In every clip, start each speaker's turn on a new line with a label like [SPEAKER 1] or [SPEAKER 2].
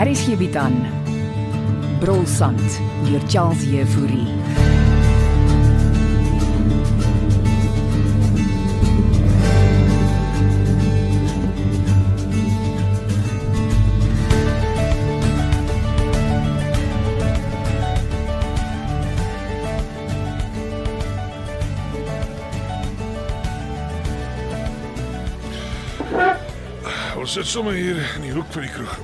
[SPEAKER 1] Hier is hierby dan. Brolsand deur Charles Jefouri.
[SPEAKER 2] Ons sit sommer hier in die hoek van die kroeg.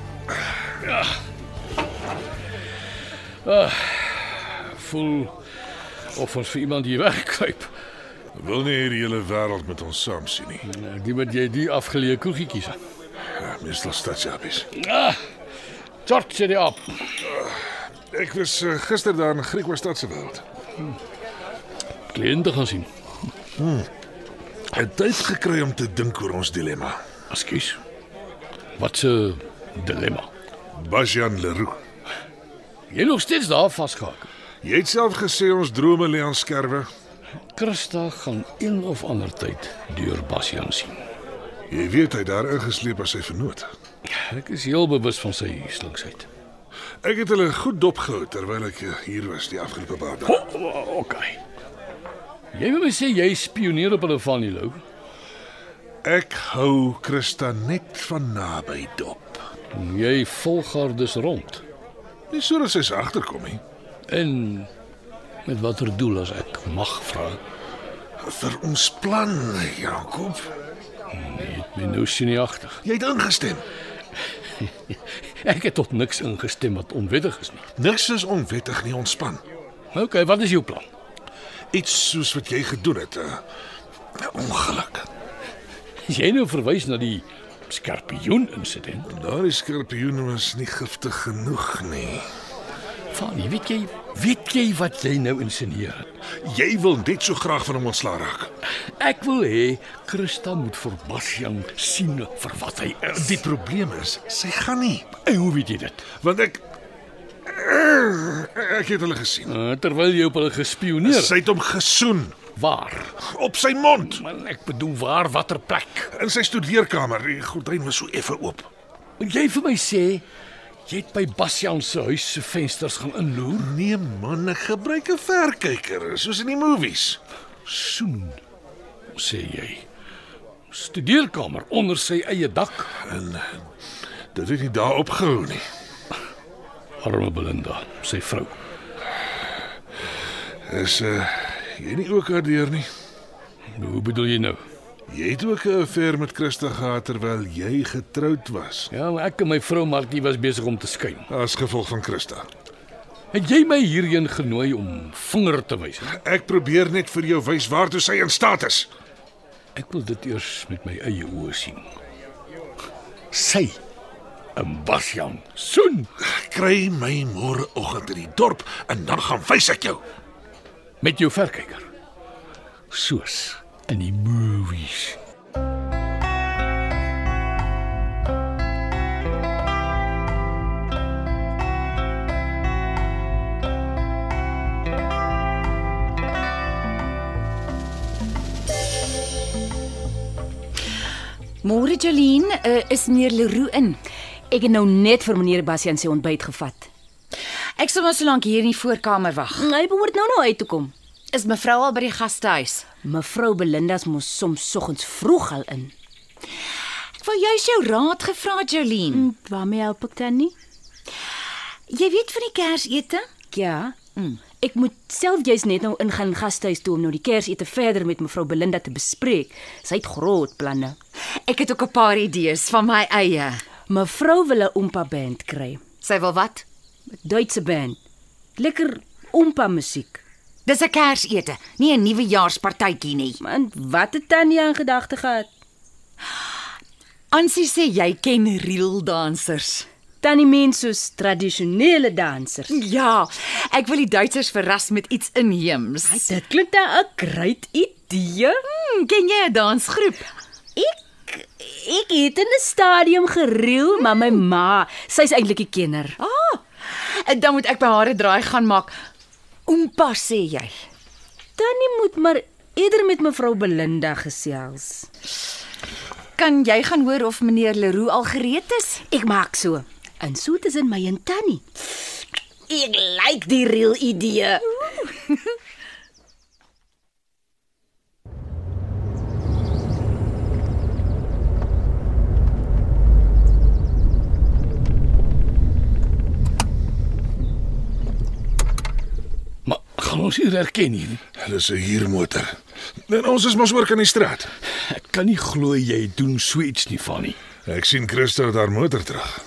[SPEAKER 3] voel of ons vir iemand hier wegkruip.
[SPEAKER 2] Wil nie hierdie hele wêreld met ons saam sien nie.
[SPEAKER 3] Nou, Die wat jy die afgeleë koegietjies.
[SPEAKER 2] Ja, meestal stadsjappies.
[SPEAKER 3] Ah, Tort sê die op.
[SPEAKER 2] Ek was uh, gister daar in Griekwa stad se wêreld.
[SPEAKER 3] Kliënte gaan sien.
[SPEAKER 2] Het tyd gekry om te dink oor ons dilemma.
[SPEAKER 3] Ekskuus. Wat 'n dilemma.
[SPEAKER 2] Basjan Leroux.
[SPEAKER 3] Jy nog steeds daar vasgehaak.
[SPEAKER 2] Jy het self gesê ons drome lê aan skerwe.
[SPEAKER 3] Christa gaan een of ander tyd deur Bastian sien.
[SPEAKER 2] Jy weet hy het daar ingesleep as sy vernoot.
[SPEAKER 3] Ek is heel bewus van sy slinksheid.
[SPEAKER 2] Ek het hulle goed dopgehou terwyl ek eh, hier was die afgelope paar dae.
[SPEAKER 3] Oh, okay. Jy wil my sê jy spioneer op hulle van die lou?
[SPEAKER 2] Ek hou Christa net van naby dop.
[SPEAKER 3] Jy volg haar dus rond.
[SPEAKER 2] Nie sodat sy se agterkom nie.
[SPEAKER 3] En met watter doel as ek mag vra?
[SPEAKER 2] Vir ons plan, Jakob.
[SPEAKER 3] My nou sien nie agter.
[SPEAKER 2] Jy het ingestem.
[SPEAKER 3] Ek het tot niks ingestem wat onwettig is nie.
[SPEAKER 2] Niks is onwettig nie, ontspan.
[SPEAKER 3] OK, wat is jou plan?
[SPEAKER 2] Iets soos wat jy gedoen het. Uh, ongeluk.
[SPEAKER 3] As jy nou verwys na die skorpioen insident,
[SPEAKER 2] Daardie Nou, skorpioen was nie giftig genoeg nie.
[SPEAKER 3] van jy weet jy, weet jy wat jy nou insinieer?
[SPEAKER 2] Jy wil net so graag van hom ontslaa raak.
[SPEAKER 3] Ek wil hê Christa moet vir Bastian sien vir wat hy is.
[SPEAKER 2] Die probleem is, sy gaan nie,
[SPEAKER 3] en hoe weet jy dit?
[SPEAKER 2] want ek eh, ek het hulle gesien.
[SPEAKER 3] Uh, terwyl jy op hulle gespioneer.
[SPEAKER 2] Sy het hom gesoen
[SPEAKER 3] waar?
[SPEAKER 2] op sy mond
[SPEAKER 3] Maar ek bedoel waar watter plek?
[SPEAKER 2] in sy studeerkamer. Die gordyn was so effe oop.
[SPEAKER 3] Moet jy vir my sê jy het by Bastian se huis se vensters gaan inloer?
[SPEAKER 2] Nee man, ek gebruik 'n verkyker, soos in die movies.
[SPEAKER 3] soen, sê jy. Studeerkamer onder sy eie dak.
[SPEAKER 2] En dit het nie daar opgehou nie.
[SPEAKER 3] Arme Belinda, sy vrou.
[SPEAKER 2] Is uh jy nie ook daardeur nie?
[SPEAKER 3] Hoe bedoel jy nou?
[SPEAKER 2] Jy het ook 'n affair met Christa gehad terwyl jy getroud was
[SPEAKER 3] Ja, maar ek en my vrou Martie was besig om te skyn.
[SPEAKER 2] as gevolg van Christa.
[SPEAKER 3] Het jy my hierheen genooi om vinger te wys?
[SPEAKER 2] Ek probeer net vir jou wys waartoe sy in staat is.
[SPEAKER 3] Ek wil dit eers met my eie oë sien. Sy 'n Bastian soen
[SPEAKER 2] Kry my môreoggend in die dorp en dan gaan wys ek jou.
[SPEAKER 3] met jou verkyker. Soos in die movies.
[SPEAKER 4] Môre Jolene, uh, is meneer Leroux in.
[SPEAKER 1] Ek het nou net vir meneer Bastian se ontbyt gevat.
[SPEAKER 4] Ek sal maar so lank hier in die voorkamer wag.
[SPEAKER 1] Hy behoort nou nou uit te kom.
[SPEAKER 4] Is mevrou al by die gastehuis?
[SPEAKER 1] Mevrou Belinda's mos soms soggens vroeg al in.
[SPEAKER 4] Ek wou juis jou raad gevra, Jolene.
[SPEAKER 1] Waarmee help ek dan nie?
[SPEAKER 4] Mm, Jy weet van die Kersete?
[SPEAKER 1] Ja. Mm. Ek moet self jy's net nou ingaan gastehuis toe om nou die Kersete verder met mevrou Belinda te bespreek. Sy het groot planne.
[SPEAKER 4] Ek het ook 'n paar idees van my eie.
[SPEAKER 1] Mevrou wil 'n ompa band kry.
[SPEAKER 4] Sy wil wat?
[SPEAKER 1] 'n Duitse band. Lekker ompa musiek.
[SPEAKER 4] Dis 'n Kersete, nie 'n nuwejaarspartytjie nie.
[SPEAKER 1] Man, wat het Tannie aan gedagte gehad?
[SPEAKER 4] Ansie sê jy ken reel dansers.
[SPEAKER 1] Tannie mens soos tradisionele dansers.
[SPEAKER 4] Ja, ek wil die Duitsers verras met iets inheems.
[SPEAKER 1] Ai, dit klink 'n great idee.
[SPEAKER 4] Hmm, ken jy 'n dansgroep?
[SPEAKER 1] Ek Ek het in 'n stadium gereël, maar my ma, sy's eintlik 'n kenner.
[SPEAKER 4] En Eh, dan moet ek by haar 'n draai gaan maak. Oompa sê jy.
[SPEAKER 1] Tannie moet maar eerder met mevrou Belinda gesels.
[SPEAKER 4] Kan jy gaan hoor of meneer Leroux al gereed is?
[SPEAKER 1] Ek maak so. En so tussen my en Tannie. Ek like die reël idee.
[SPEAKER 3] Maar gaan ons hier herken hier?
[SPEAKER 2] Dis 'n huurmotor. En ons is mos oor kan die straat.
[SPEAKER 3] Ek kan nie glo jy doen so iets nie, Fanny.
[SPEAKER 2] Ek sien Christa het haar motor terug.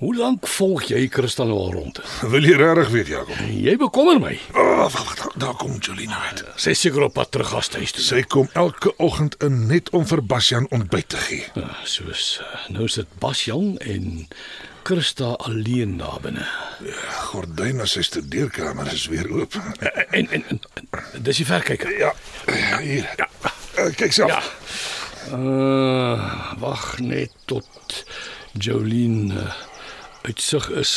[SPEAKER 3] Hoe lank volg jy Kristal nou al rond?
[SPEAKER 2] Wil jy regtig weet, Jakob?
[SPEAKER 3] Jy bekommer my.
[SPEAKER 2] Oh, wag, wag, daar, daar kom Jolina uit.
[SPEAKER 3] Sy is seker op pad terug gastehuis toe.
[SPEAKER 2] Sy kom elke oggend in net om vir Basjan ontbyt te gee.
[SPEAKER 3] Ah, Soos eh, nou sit Basjang en Christa alleen daar binne.
[SPEAKER 2] Gordyne sy studeerkamer is weer oop.
[SPEAKER 3] Eh, En en, en, en dis die verkyker.
[SPEAKER 2] Ja, ja, hier. Ja. Kyk self.
[SPEAKER 3] Ja. Uh, wag net tot Jolien uh, uitsig is.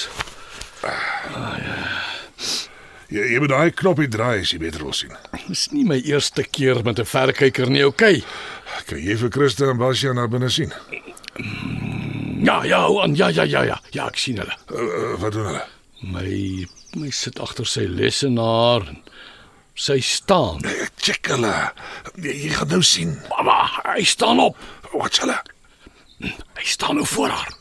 [SPEAKER 2] Jy, jy moet daai knoppie draai as jy beter wil sien.
[SPEAKER 3] Dis nie my eerste keer met 'n verkyker nie, okay?
[SPEAKER 2] Kan jy vir Christa en Basjan daar binne sien?
[SPEAKER 3] Ja, ja, hou aan. Ja, ja, ja, ja. Ja, ek sien hulle.
[SPEAKER 2] Uh, uh, wat doen hulle?
[SPEAKER 3] My my sit agter sy lesenaar. en Sy staan.
[SPEAKER 2] Eh, Check hulle. Jy, jy gaan nou sien.
[SPEAKER 3] Mamma, hy staan op.
[SPEAKER 2] Wat hulle?
[SPEAKER 3] Hy staan nou voor haar.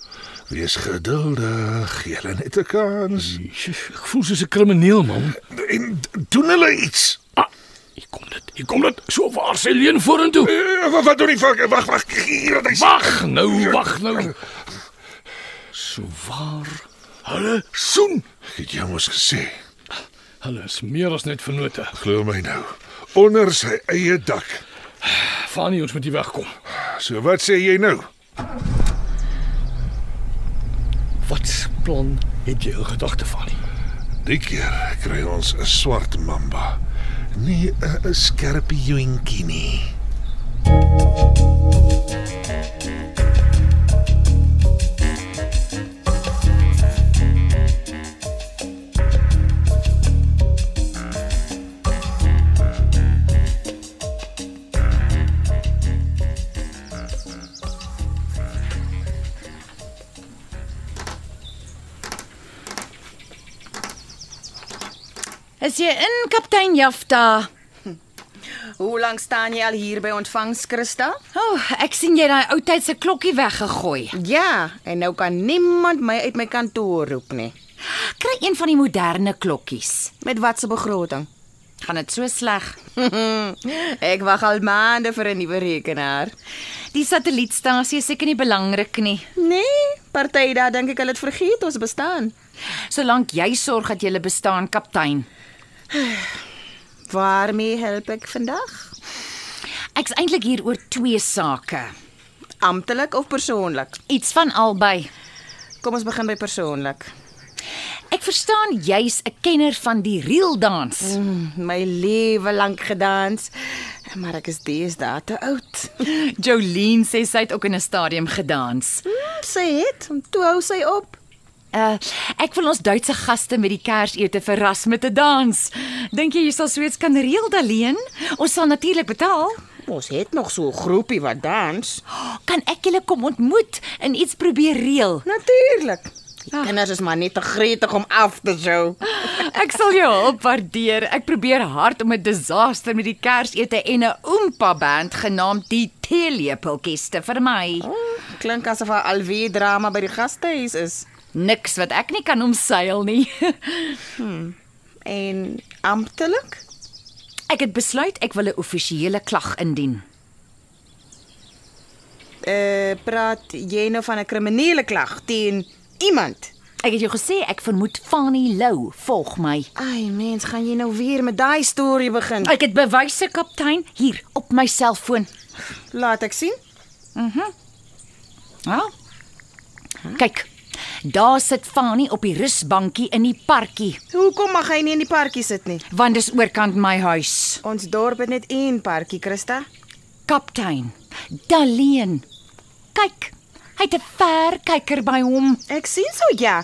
[SPEAKER 2] Wees geduldig. Gee hulle net 'n kans.
[SPEAKER 3] Jesus, Ek voel soos 'n krimineel man.
[SPEAKER 2] En d- doen hulle iets.
[SPEAKER 3] Ah, hier kom dit. Hier kom dit. So waar sy leen vorentoe.
[SPEAKER 2] Eh, Wat, wat doen die fuck? Wag, wag. Hier wat hy sê.
[SPEAKER 3] Wag nou, wag nou. So waar. Hulle soen.
[SPEAKER 2] Ek het jou mos gesê.
[SPEAKER 3] Hulle is meer as net vennote.
[SPEAKER 2] Glo my nou. Onder sy eie dak.
[SPEAKER 3] Fanny, ons moet hier wegkom.
[SPEAKER 2] So wat sê jy nou?
[SPEAKER 3] Wat se plan het jy in gedagte, Fanny?
[SPEAKER 2] Die keer kry ons 'n swart mamba. Nie 'n 'n skerpioentjie nie.
[SPEAKER 4] Is jy in kaptein Jafta?
[SPEAKER 5] Hoe lank staan jy al hier by ontvangs, Christa?
[SPEAKER 4] O, oh, ek sien jy daai ou tyd se klokkie weggegooi.
[SPEAKER 5] Ja, en nou kan niemand my uit my kantoor roep nie.
[SPEAKER 4] Kry een van die moderne klokkies.
[SPEAKER 5] Met watse begroting?
[SPEAKER 4] Gaan dit so sleg?
[SPEAKER 5] ek wag al maande vir 'n nuwe rekenaar.
[SPEAKER 4] Die satellietstasie is seker nie belangrik nie,
[SPEAKER 5] Nee, party daar dink ek hulle het vergeet ons bestaan.
[SPEAKER 4] solank jy sorg dat jy bestaan, kaptein.
[SPEAKER 5] Waarmee help ek vandag?
[SPEAKER 4] Ek's eintlik hier oor twee sake.
[SPEAKER 5] Amptelik of persoonlik?
[SPEAKER 4] Iets van albei.
[SPEAKER 5] Kom ons begin by persoonlik.
[SPEAKER 4] Ek verstaan jy's 'n kenner van die reeldans.
[SPEAKER 5] Mm, My lewe lank gedans, maar ek is deesdae te oud.
[SPEAKER 4] Jolene sê sy het ook in 'n stadium gedans.
[SPEAKER 5] Sy het, toe hou sy op.
[SPEAKER 4] Uh, ek wil ons Duitse gaste met die Kersete verras met 'n dans. Dink jy jy sal so iets kan reël, Daleen? Ons sal natuurlik betaal.
[SPEAKER 5] Ons het nog so 'n groepie wat dans.
[SPEAKER 4] Kan ek julle kom ontmoet en iets probeer reël?
[SPEAKER 5] Natuurlik. Die kinders is maar net te gretig om af te sou.
[SPEAKER 4] Ek sal jou hulp waardeer. Ek probeer hard om 'n disaster met die Kersete en 'n oompa band genaamd die Teelepeltjies te vermy.
[SPEAKER 5] Oh. Klink asof daar alweer drama by die gastehuis is.
[SPEAKER 4] Niks wat ek nie kan omseil nie.
[SPEAKER 5] En amptelik?
[SPEAKER 4] Ek het besluit ek wil 'n offisiële klag indien.
[SPEAKER 5] Eh, praat jy nou van 'n kriminele klag teen iemand?
[SPEAKER 4] Ek het jou gesê ek vermoed Fanny Lou volg my.
[SPEAKER 5] Ai, mens, gaan jy nou weer met daai storie begin?
[SPEAKER 4] Ek het bewyse, kaptein, hier op my selfoon.
[SPEAKER 5] Laat ek sien.
[SPEAKER 4] Ja. Kyk. Daar sit Fanny op die rusbankie in die parkie,
[SPEAKER 5] Hoekom mag hy nie in die parkie sit nie?
[SPEAKER 4] want dis oorkant my huis.
[SPEAKER 5] Ons dorp het net een parkie, Christa.
[SPEAKER 4] Kaptein, Daleen. kyk. Hy het 'n verkyker by hom.
[SPEAKER 5] Ek sien so ja.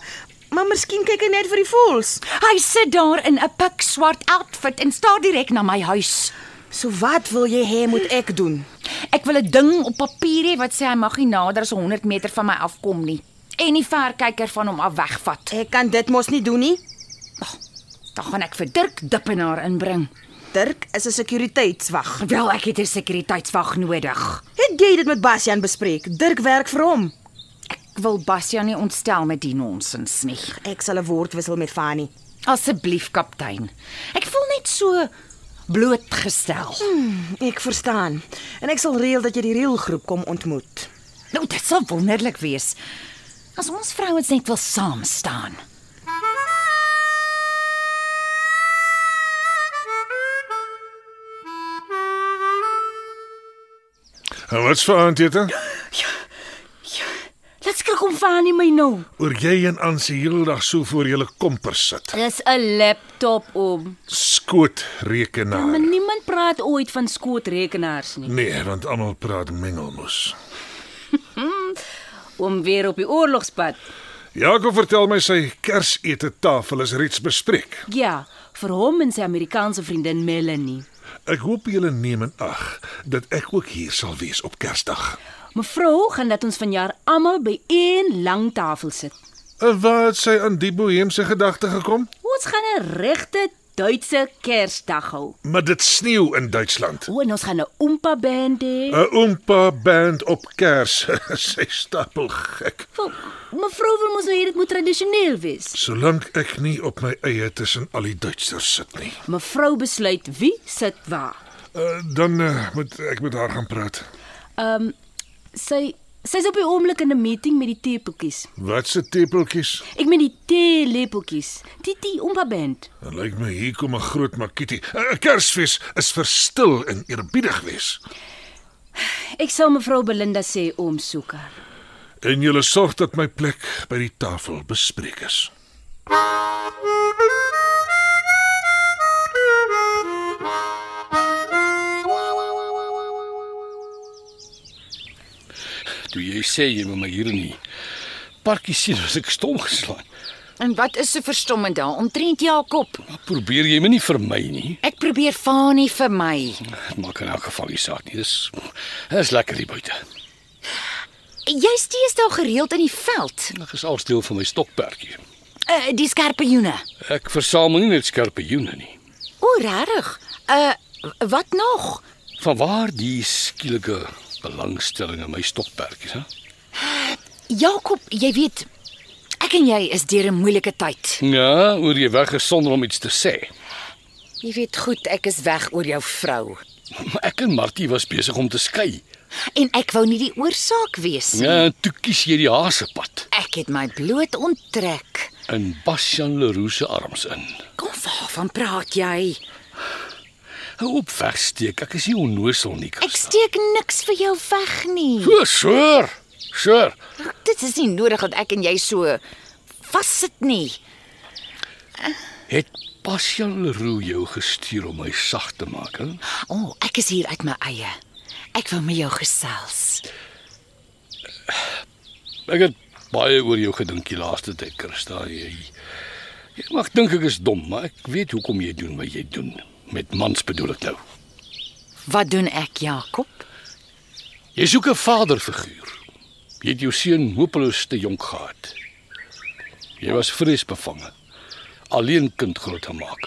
[SPEAKER 5] Maar miskien kyk hy net vir die voels.
[SPEAKER 4] Hy sit daar in 'n pikswart outfit en staar direk na my huis.
[SPEAKER 5] So wat wil jy hê moet ek doen?
[SPEAKER 4] Ek wil 'n ding op papier hê wat sê hy mag nie nader as 100 meter van my afkom nie en die verkyker van hom af wegvat.
[SPEAKER 5] Ek kan dit mos nie doen nie.
[SPEAKER 4] Dan gaan ek vir Dirk Dippenaar inbring.
[SPEAKER 5] Dirk is 'n sekuriteitswag.
[SPEAKER 4] Wel, ek het 'n sekuriteitswag nodig.
[SPEAKER 5] Het jy dit met Bastian bespreek? Dirk werk vir hom.
[SPEAKER 4] Ek wil Bastian nie ontstel met die nonsens nie.
[SPEAKER 5] Ek sal 'n woord wissel met Fanny.
[SPEAKER 4] Asseblief, kaptein. Ek voel net so blootgestel.
[SPEAKER 5] Ek verstaan. En ek sal reël dat jy die reëlgroep kom ontmoet.
[SPEAKER 4] Nou, dit sal wonderlik wees as ons vrouens net wil saam staan.
[SPEAKER 2] En wat's vir aandete?
[SPEAKER 1] Laat skrik hom van nie my nou.
[SPEAKER 2] Oor jy en Ansie heeldag so voor julle kompers sit.
[SPEAKER 1] Dis 'n laptop om.
[SPEAKER 2] Skoot
[SPEAKER 1] Maar
[SPEAKER 2] rekenaar.
[SPEAKER 1] niemand praat ooit van skootrekenaars nie.
[SPEAKER 2] Nee, want almal praat mengelmoes.
[SPEAKER 1] Om weer op die oorlogspad.
[SPEAKER 2] Jakob vertel my sy kersete tafel is reeds bespreek.
[SPEAKER 1] Ja, vir hom en sy Amerikaanse vriendin Melanie.
[SPEAKER 2] Ek hoop julle neem in ag dat ek ook hier sal wees op Kersdag.
[SPEAKER 1] Mevrou gaan dat ons vanjaar almal by een lang tafel sit.
[SPEAKER 2] En waar het sy aan die boheemse gedagte gekom?
[SPEAKER 1] Ons gaan 'n regte Duitse Kersdag hou.
[SPEAKER 2] Maar dit sneeu in Duitsland.
[SPEAKER 1] O, en ons gaan 'n oompa band hê.
[SPEAKER 2] 'n Oompa band op Kers. sy stapel gek.
[SPEAKER 1] Wel, Mevrou wil mos nou hê dit moet tradisioneel wees.
[SPEAKER 2] Solank ek nie op my eie tussen al die Duitsers sit nie.
[SPEAKER 1] Mevrou besluit wie sit waar.
[SPEAKER 2] Uh, dan uh, moet ek met haar gaan praat.
[SPEAKER 1] Ehm um, sy sy's op die oomblik in 'n meeting met die teepeltjies.
[SPEAKER 2] Wat se tepeltjies?
[SPEAKER 1] Ek meen die teelepeltjies. Die die oompa band.
[SPEAKER 2] Dit lyk my hier kom 'n groot makietie. 'n Kersfees is verstil en eerbiedig wees.
[SPEAKER 1] Ek sal mevrou Belinda sê om soek haar.
[SPEAKER 2] En julle sorg dat my plek by die tafel bespreek is.
[SPEAKER 3] Toe jy sê jy moet my hier in die parkie sien, was ek stom geslaan.
[SPEAKER 4] En wat is so verstommend daar omtrent Jakob?
[SPEAKER 3] Maar probeer jy my nie vermy nie.
[SPEAKER 4] Ek probeer Fanie vir my.
[SPEAKER 3] Dit maak in elk geval nie saak nie. Dis is lekker hier buite.
[SPEAKER 4] Jy stees daar gereeld in die veld.
[SPEAKER 3] Dit is al deel van my stokperdjie.
[SPEAKER 4] Uh, die skerpioene.
[SPEAKER 3] Ek versamel nie net skerpioene nie.
[SPEAKER 4] O, regtig? Uh wat nog?
[SPEAKER 3] Vanwaar die skielike belangstelling in my stokperdjies, hè?
[SPEAKER 4] Jakob, jy weet, ek en jy is deur 'n moeilike tyd.
[SPEAKER 3] Ja, oor jy weg is sonder om iets te sê.
[SPEAKER 4] Jy weet goed, ek is weg oor jou vrou
[SPEAKER 3] Maar ek en Martie was besig om te skei.
[SPEAKER 4] en ek wou nie die oorsaak wees nie.
[SPEAKER 3] Ja, en toe kies jy die hasepad
[SPEAKER 4] Ek het my bloot onttrek.
[SPEAKER 3] in Bastian Leroux se arms in.
[SPEAKER 4] Kom waarvan praat jy?
[SPEAKER 3] Hou op wegsteek. Ek is nie onnosel nie,
[SPEAKER 4] Ek
[SPEAKER 3] Christa.
[SPEAKER 4] steek niks vir jou weg nie.
[SPEAKER 3] So, sure. Sure.
[SPEAKER 4] Dit is nie nodig dat ek en jy so vassit nie.
[SPEAKER 3] Het Bastian Leroux jou gestuur om my sag te maak, hè?
[SPEAKER 4] O, oh, ek is hier uit my eie. Ek wil met jou gesels.
[SPEAKER 3] Ek het baie oor jou gedink die laaste tyd, Christa. Jy, jy mag dink ek is dom, maar ek weet hoekom jy doen wat jy doen. Met mans bedoel ek nou.
[SPEAKER 4] Wat doen ek, Jakob?
[SPEAKER 3] Jy soek 'n vaderfiguur. Jy het jou seun hopeloos te jonk gehad. Jy was vreesbevange. Alleen kind grootgemaak.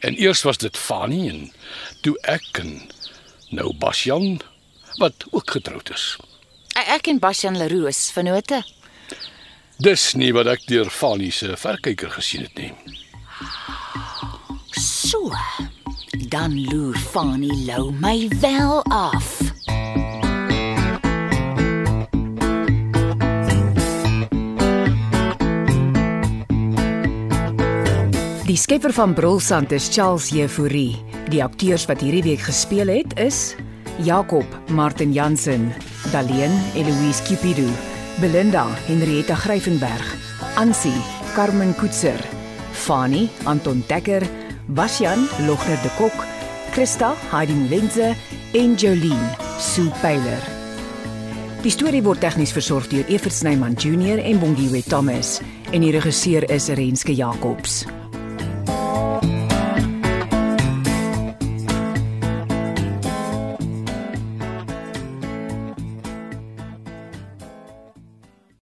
[SPEAKER 3] En eers was dit Fanny en toe ek en nou Basjan wat ook getroud is.
[SPEAKER 4] E- Ek en Bastian Leroux is vennote.
[SPEAKER 3] Dis nie wat ek deur Fanny se verkyker gesien het nie.
[SPEAKER 4] So. Dan loer Fani Lou my wel af.
[SPEAKER 6] Die skepper van Brolsand is Charles Jefouri. Die akteurs wat hierdie week gespeel het is Jakob Martin Jansen, Daleen Eloise Cupido, Belinda Henrietta Gryvenberg, Ansie Carmen Koetser, Fani Anton Dekker, Basjan Logner de Kok, Christa Heidi Molenze en Jolien Sue Pyler.
[SPEAKER 4] Die storie word tegnies versorg deur Evert Snyman Junior en Bongwe Thomas en die regisseur is Renske Jacobs.